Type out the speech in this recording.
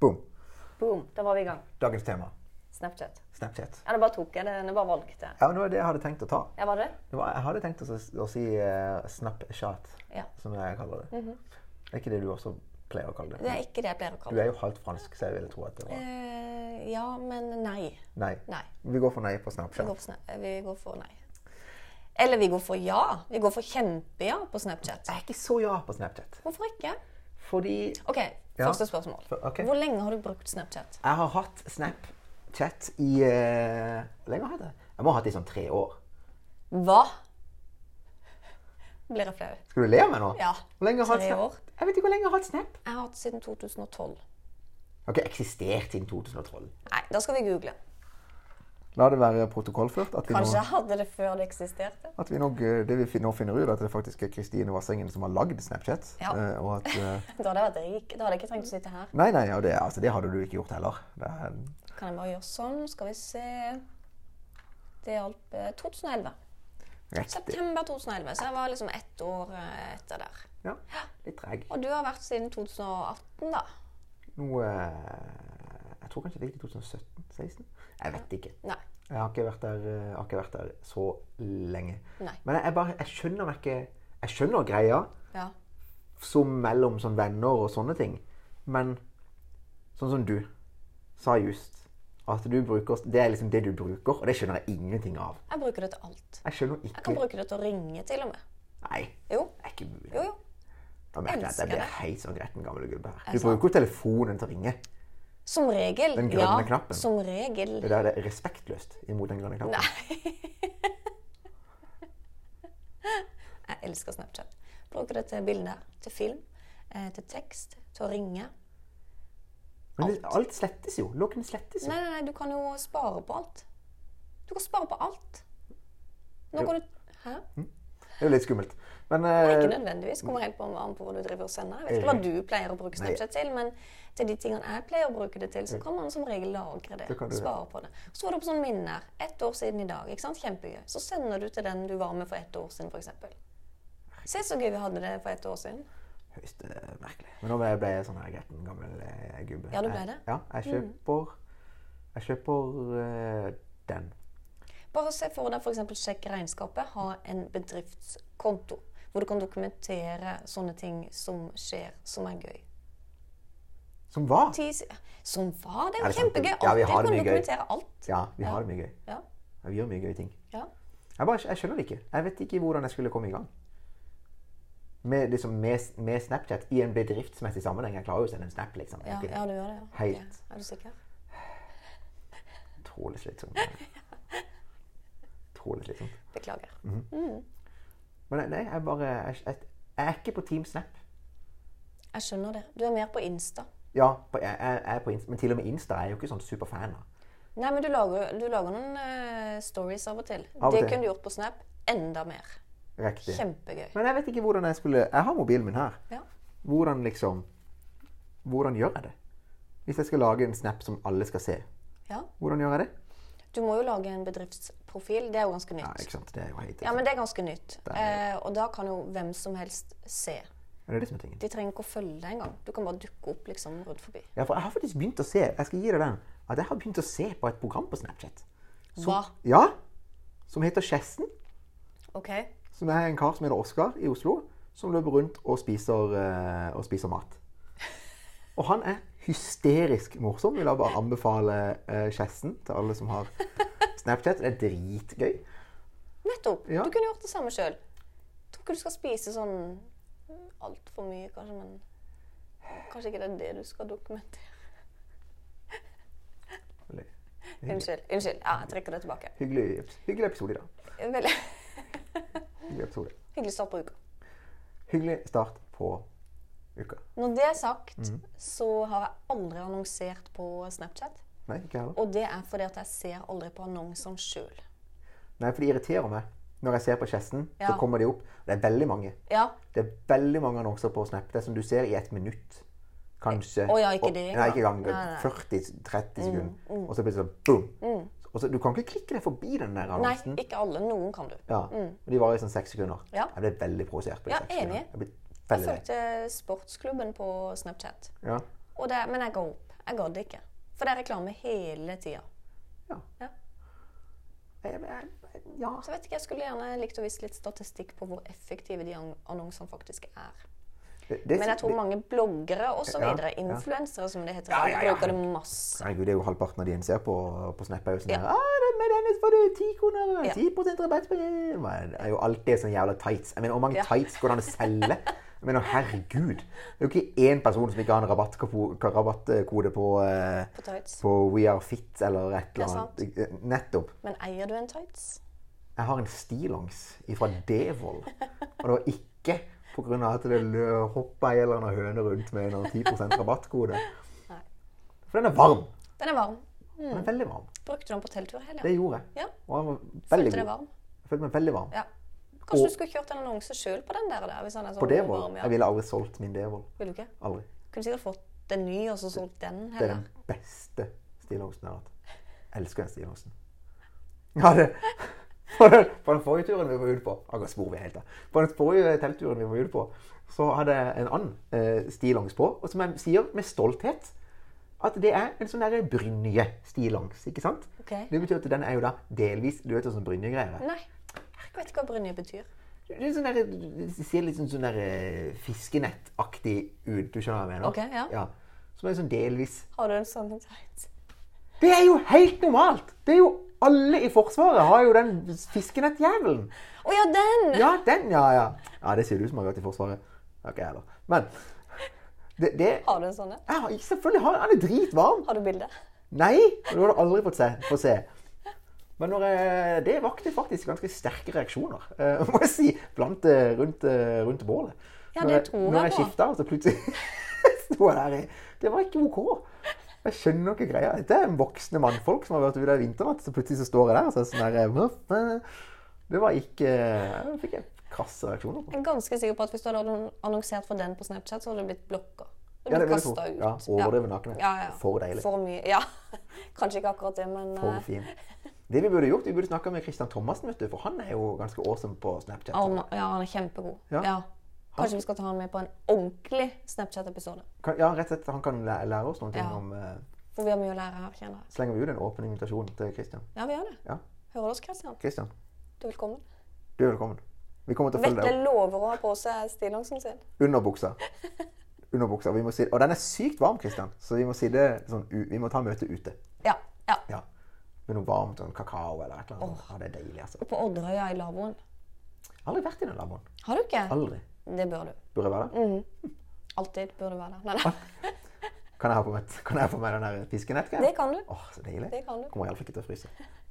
Boom. Boom, da var vi i gang. Dagens tema. Snapchat. Snapchat. Ja, det bare tok jeg det. Det bare valgte jeg. Ja, men Det var det jeg hadde tenkt å ta. Ja, var det? Det var, jeg hadde tenkt å, s- å si eh, Snapchat, Ja. som jeg kaller det. Mhm. Er ikke det du også pleier å kalle det? Det er ikke det jeg pleier å Du kalle det. er jo halvt fransk, så jeg ville tro at det var Eh, ja, men nei. Nei. Nei. Vi går for nei på Vi Snapchat. går, for, sna- vi går for nei. Eller vi går for ja. Vi går for kjempeja på Snapchat. Jeg er ikke så ja på Snapchat. Hvorfor ikke? Fordi OK, Ja. første spørsmål. For- ok. Hvor lenge har du brukt Snapchat? jeg har hatt Snapchat i eh, Hvor lenge har jeg hatt det? Jeg må ha hatt det i sånn tre år. Hva? Blir jeg flau? Skal du le av meg nå? Ja. Hvor lenge har jeg Tre hatt år. Snap? Jeg vet ikke hvor lenge jeg har hatt Snap. Jeg har hatt siden 2012. Jeg har ikke eksistert siden 2012. Nei, da skal vi google. La det være protokollført at vi, Kanskje nå, jeg hadde det før det eksisterte. at vi nok, eh, det vi fin- nå finner ut, at det faktisk er Kristine Vassengen som har lagd Snapchat. Ja. eh, Og at, eh, Da hadde jeg vært rik. Da hadde jeg ikke trengt å sitte her. nei, nei, ja, det, altså, det hadde du ikke gjort heller. Det er, Kan jeg bare gjøre sånn? Skal vi se Det hjalp eh, 2011. riktig. September 2011. Så jeg var liksom ett år eh, etter der. Ja, litt treg. Og du har vært siden 2018, da. Nå eh, Jeg tror kanskje det gikk i 2017-16? Jeg vet ikke. Nei. Jeg har ikke vært der, eh, jeg har ikke vært der så lenge. Nei. Men jeg, jeg bare, jeg skjønner meg ikke Jeg skjønner greia. Ja. som mellom sånn venner og sånne ting. Men sånn som du sa just, at du bruker, det er liksom det du bruker, og det skjønner jeg ingenting av. Jeg bruker det til alt. Jeg skjønner Jeg kan ikke bruke det til å ringe, til og med. Nei, Jo. det er ikke mulig. Jo, jo. Da merker jeg at jeg elsker blir det. Altså- helt sånn gretten gammel gubbe her. Er Du sant. bruker jo telefonen til å ringe. Som regel. Den grønne ja, knappen. Som regel. Det der det er respektløst imot den grønne knappen. Nei. Jeg elsker Snapchat. Bruker det til bilder, til film, eh, til tekst, til å ringe. Men det, alt slettes jo. Loggen slettes jo. Nei, nei, nei, du kan jo spare på alt. Du kan spare på alt. Nå Jo. går du Hæ? Det er jo litt skummelt. Men Ikke eh, nødvendigvis. Kommer helt på an på hvor du driver og sender. Jeg vet ikke hva du pleier å bruke Snapchat til, men til de tingene jeg pleier å bruke det til, så kan man som regel lagre det. Mm. Det kan du gjøre. Spare på det. Så var det på sånn minner. Ett år siden i dag. ikke sant? Kjempegøy. Så sender du til den du var med for ett år siden, f.eks. Se så gøy vi hadde det for ett år siden. høyst eh, merkelig. Men nå ble jeg- ble jeg sånn her gretten gammel eh, gubbe. Ja, du ble Jeg- det. Mm. Ja, jeg kjøper, jeg kjøper eh, den. Bare se for deg f.eks. sjekk regnskapet, ha en bedriftskonto. Hvor du kan dokumentere sånne ting som skjer, som er gøy. Som hva? Ti si- Som var Er det jo det sant? kjempegøy! Ja, vi Alltid har det kan mye gøy. dokumentere alt. Ja, vi har det mye gøy. Ja, Ja, Vi gjør mye gøye ting. ja. Jeg, bare, jeg skjønner det ikke. Jeg vet ikke hvordan jeg skulle komme i gang. Med, liksom, med, med Snapchat i en bedriftsmessig sammenheng. Jeg klarer jo å sende en snap, liksom. Ja, Det er ja, du gjør det. ja. Helt. Ok, Er du sikker? ikke Utrolig slitsomt. Utrolig slitsomt. Beklager. Men nei, jeg bare jeg, jeg, jeg er ikke på Team Snap. Jeg skjønner det. Du er mer på Insta. Ja, på, jeg, jeg jeg er på Insta, men til og med Insta er jeg jo ikke sånn superfan av. Nei, men du lager, du lager noen eh, stories av og til. Av og det til. kunne du gjort på Snap. Enda mer. Riktig. Kjempegøy. Men jeg vet ikke hvordan jeg skulle Jeg har mobilen min her. Ja. Hvordan liksom Hvordan gjør jeg det? Hvis jeg skal lage en Snap som alle skal se, ja. hvordan gjør jeg det? Du må jo lage en bedriftsprofil. Det er jo ganske nytt. Ja, ikke sant? Det er jo helt Ja, men det er ganske nytt. Det Eh, og da kan jo hvem som helst se. Er det det som er tingen? De trenger ikke å følge deg engang. Du kan bare dukke opp liksom rundt forbi. Ja, for jeg har faktisk begynt å se Jeg skal gi deg den. At jeg har begynt å se på et program på Snapchat. Hva? Ja! Som heter Kjessen. OK? Som er en kar som heter Oskar i Oslo. Som løper rundt og spiser, eh, og spiser mat. Og han er hysterisk morsom. Vil jeg bare anbefale eh, Kjessen til alle som har Snapchat. Det er dritgøy. Nettopp! Ja. Du kunne gjort det samme sjøl. Tror ikke du skal spise sånn altfor mye, kanskje, men Kanskje ikke det er det du skal dokumentere. Veldig Unnskyld. Unnskyld. Ja, jeg trekker det tilbake. Hyggelig, hyggelig episode i dag. Veldig Hyggelig, episode. hyggelig start på uka. hyggelig start på uka. Når det er sagt, Mhm. så har jeg aldri annonsert på Snapchat. Nei, ikke heller. Og det er fordi at jeg ser aldri på annonsene sjøl. Nei, for de irriterer meg. Når jeg ser på Kjessen, så Ja. kommer de opp. Det er veldig mange. Ja, Det er veldig mange annonser på Snap. Det er som du ser i ett minutt. Kanskje. Å ja, ikke Og- det engang. Nei, ikke engang. Nei, Mm, nei. 40-30 sekunder. Og så plutselig sånn boom. Og så, du kan ikke klikke deg forbi den der Nei, annonsen. ikke alle. Noen kan du. Ja. Og de varer i sånn seks sekunder. Ja. Jeg ble veldig provosert på de Ja, seks sekundene. enig. Jeg ble Jeg veldig lei. fulgte sportsklubben på Snapchat. Ja. Og det, men jeg ga opp. Jeg gadd ikke. For det er reklame hele tida. Ja. Ja. Jeg- jeg- jeg- ja. Så jeg vet ikke, jeg skulle gjerne likt å vise litt statistikk på hvor effektive de an- annonsene faktisk er. Det, det, Men jeg tror mange bloggere og så Ja, videre, ja. influensere som det heter, Ja, ja, ja. bruker det masse. Herregud, det er jo halvparten av de en ser på, på Snap. er jo sånn Ja. der, ah, det- Med denne får du 10 kroner, Ja. 10 rabatt på det. Men Det er jo alltid sånne jævla tights. Jeg mener, Hvor mange Ja. tights går det an å selge? Jeg mener, herregud. Det er jo ikke én person som ikke har en rabattkapo- rabattkode på, eh, På tights. på We Are Fit eller et Det er eller annet. Eh, Nettopp. Men eier du en tights? Jeg har en stillongs fra Devold. Og det var ikke pga. at det lø- hoppa ei eller annen høne rundt med en eller annen 10 rabattkode. Nei. For den er varm. Den er varm. Den er veldig varm. Brukte du den på telttur i helga? Det gjorde jeg. Ja. Og han var veldig Følte det god. varm? Jeg følte meg veldig varm. Ja. Kanskje Og- du skulle kjørt en annonse sjøl på den der? der hvis han er så På Devold. varm, ja. Jeg ville aldri solgt min Devold. Vil du ikke? Aldri. Kunne sikkert fått en ny og så solgt den Det er heller. den beste stillongsen jeg har hatt. Jeg elsker den stillongsen. Ja, det. På den, på den forrige turen vi var ute på Akkurat spor vi helt av. På den forrige teltturen vi var ute på, så hadde jeg en annen eh, stillongs på, og som jeg sier med stolthet at det er en sånn der brynje-stillongs. ikke sant? Ok. Det betyr at den er jo da delvis Du vet sånn brynjegreier? Nei. Jeg vet ikke hva brynje betyr. Det er sånn der, det ser litt sånn, sånn der eh, fiskenettaktig ut, du skjønner hva jeg mener? Ok, ja. Som er sånn delvis Har du en sånn en tights? Det er jo helt normalt! Det er jo alle i Forsvaret har jo den fiskenettjævelen. Å ja, den! Ja, den, ja, ja. Ja, det sier du som har vært i Forsvaret. Det har ikke jeg heller. Men det, det Har du en sånn en? jeg har, Selvfølgelig har han det dritvarm. Har du bilde? Nei! Det har du aldri fått se. Få se. Men når jeg, det vakte faktisk ganske sterke reaksjoner, eh, må jeg si, blant, eh, rundt, eh, rundt bålet. Ja, Når det tror jeg Når jeg på. skifta, så plutselig sto jeg der i Det var ikke OK. Jeg skjønner ikke greia. Dette er voksne mannfolk som har vært ute i vinternatt, så plutselig så står jeg der og så er jeg sånn der "Hva faen?" Det var ikke Jeg fikk jeg krasse reaksjoner på. Jeg er ganske sikker på at hvis du hadde annonsert for den på Snapchat, så hadde du blitt blokka. Du Ja, hadde det vil blitt jeg tro. kastet ut. Ja, overdreven nakenhet. Ja, ja. For deilig. For mye. Ja. Kanskje ikke akkurat det, men For eh, fin. Det vi burde gjort, vi burde snakka med Christian Thomassen, vet du, for han er jo ganske awesome på Snapchat. han, ja, han er kjempegod. Ja. Kanskje vi skal ta han med på en ordentlig Snapchat-episode. Kan, ja, rett og slett, han kan læ- lære oss noen ting Ja. om eh, For vi har mye å lære her, kjenner jeg. Slenger vi ut en åpen invitasjon til Christian? Ja, vi gjør det. Ja. Hører du oss, Christian? Christian, Du er velkommen. du er velkommen. Vi kommer til å følge Vetle deg lover å ha på seg stillongsen sin. opp under buksa. Under buksa. Vi må si, og den er sykt varm, Christian, så vi må, si det, sånn, u- vi må ta møtet ute. Ja. ja. Ja. Med noe varmt, sånn kakao eller et eller annet. Ja, det er deilig, altså. På Odderøya i lavvoen. Jeg har aldri vært i den lavvoen. Har du ikke? Aldri. Det bør du. Burde jeg være Mm. der? Alltid bør du være der. Nei, Ah, nei. Kan jeg ha på meg, kan jeg ha på meg den der fiskenett? Det kan du. Åh, så deilig. Det kan du. Kommer iallfall ikke til å fryse.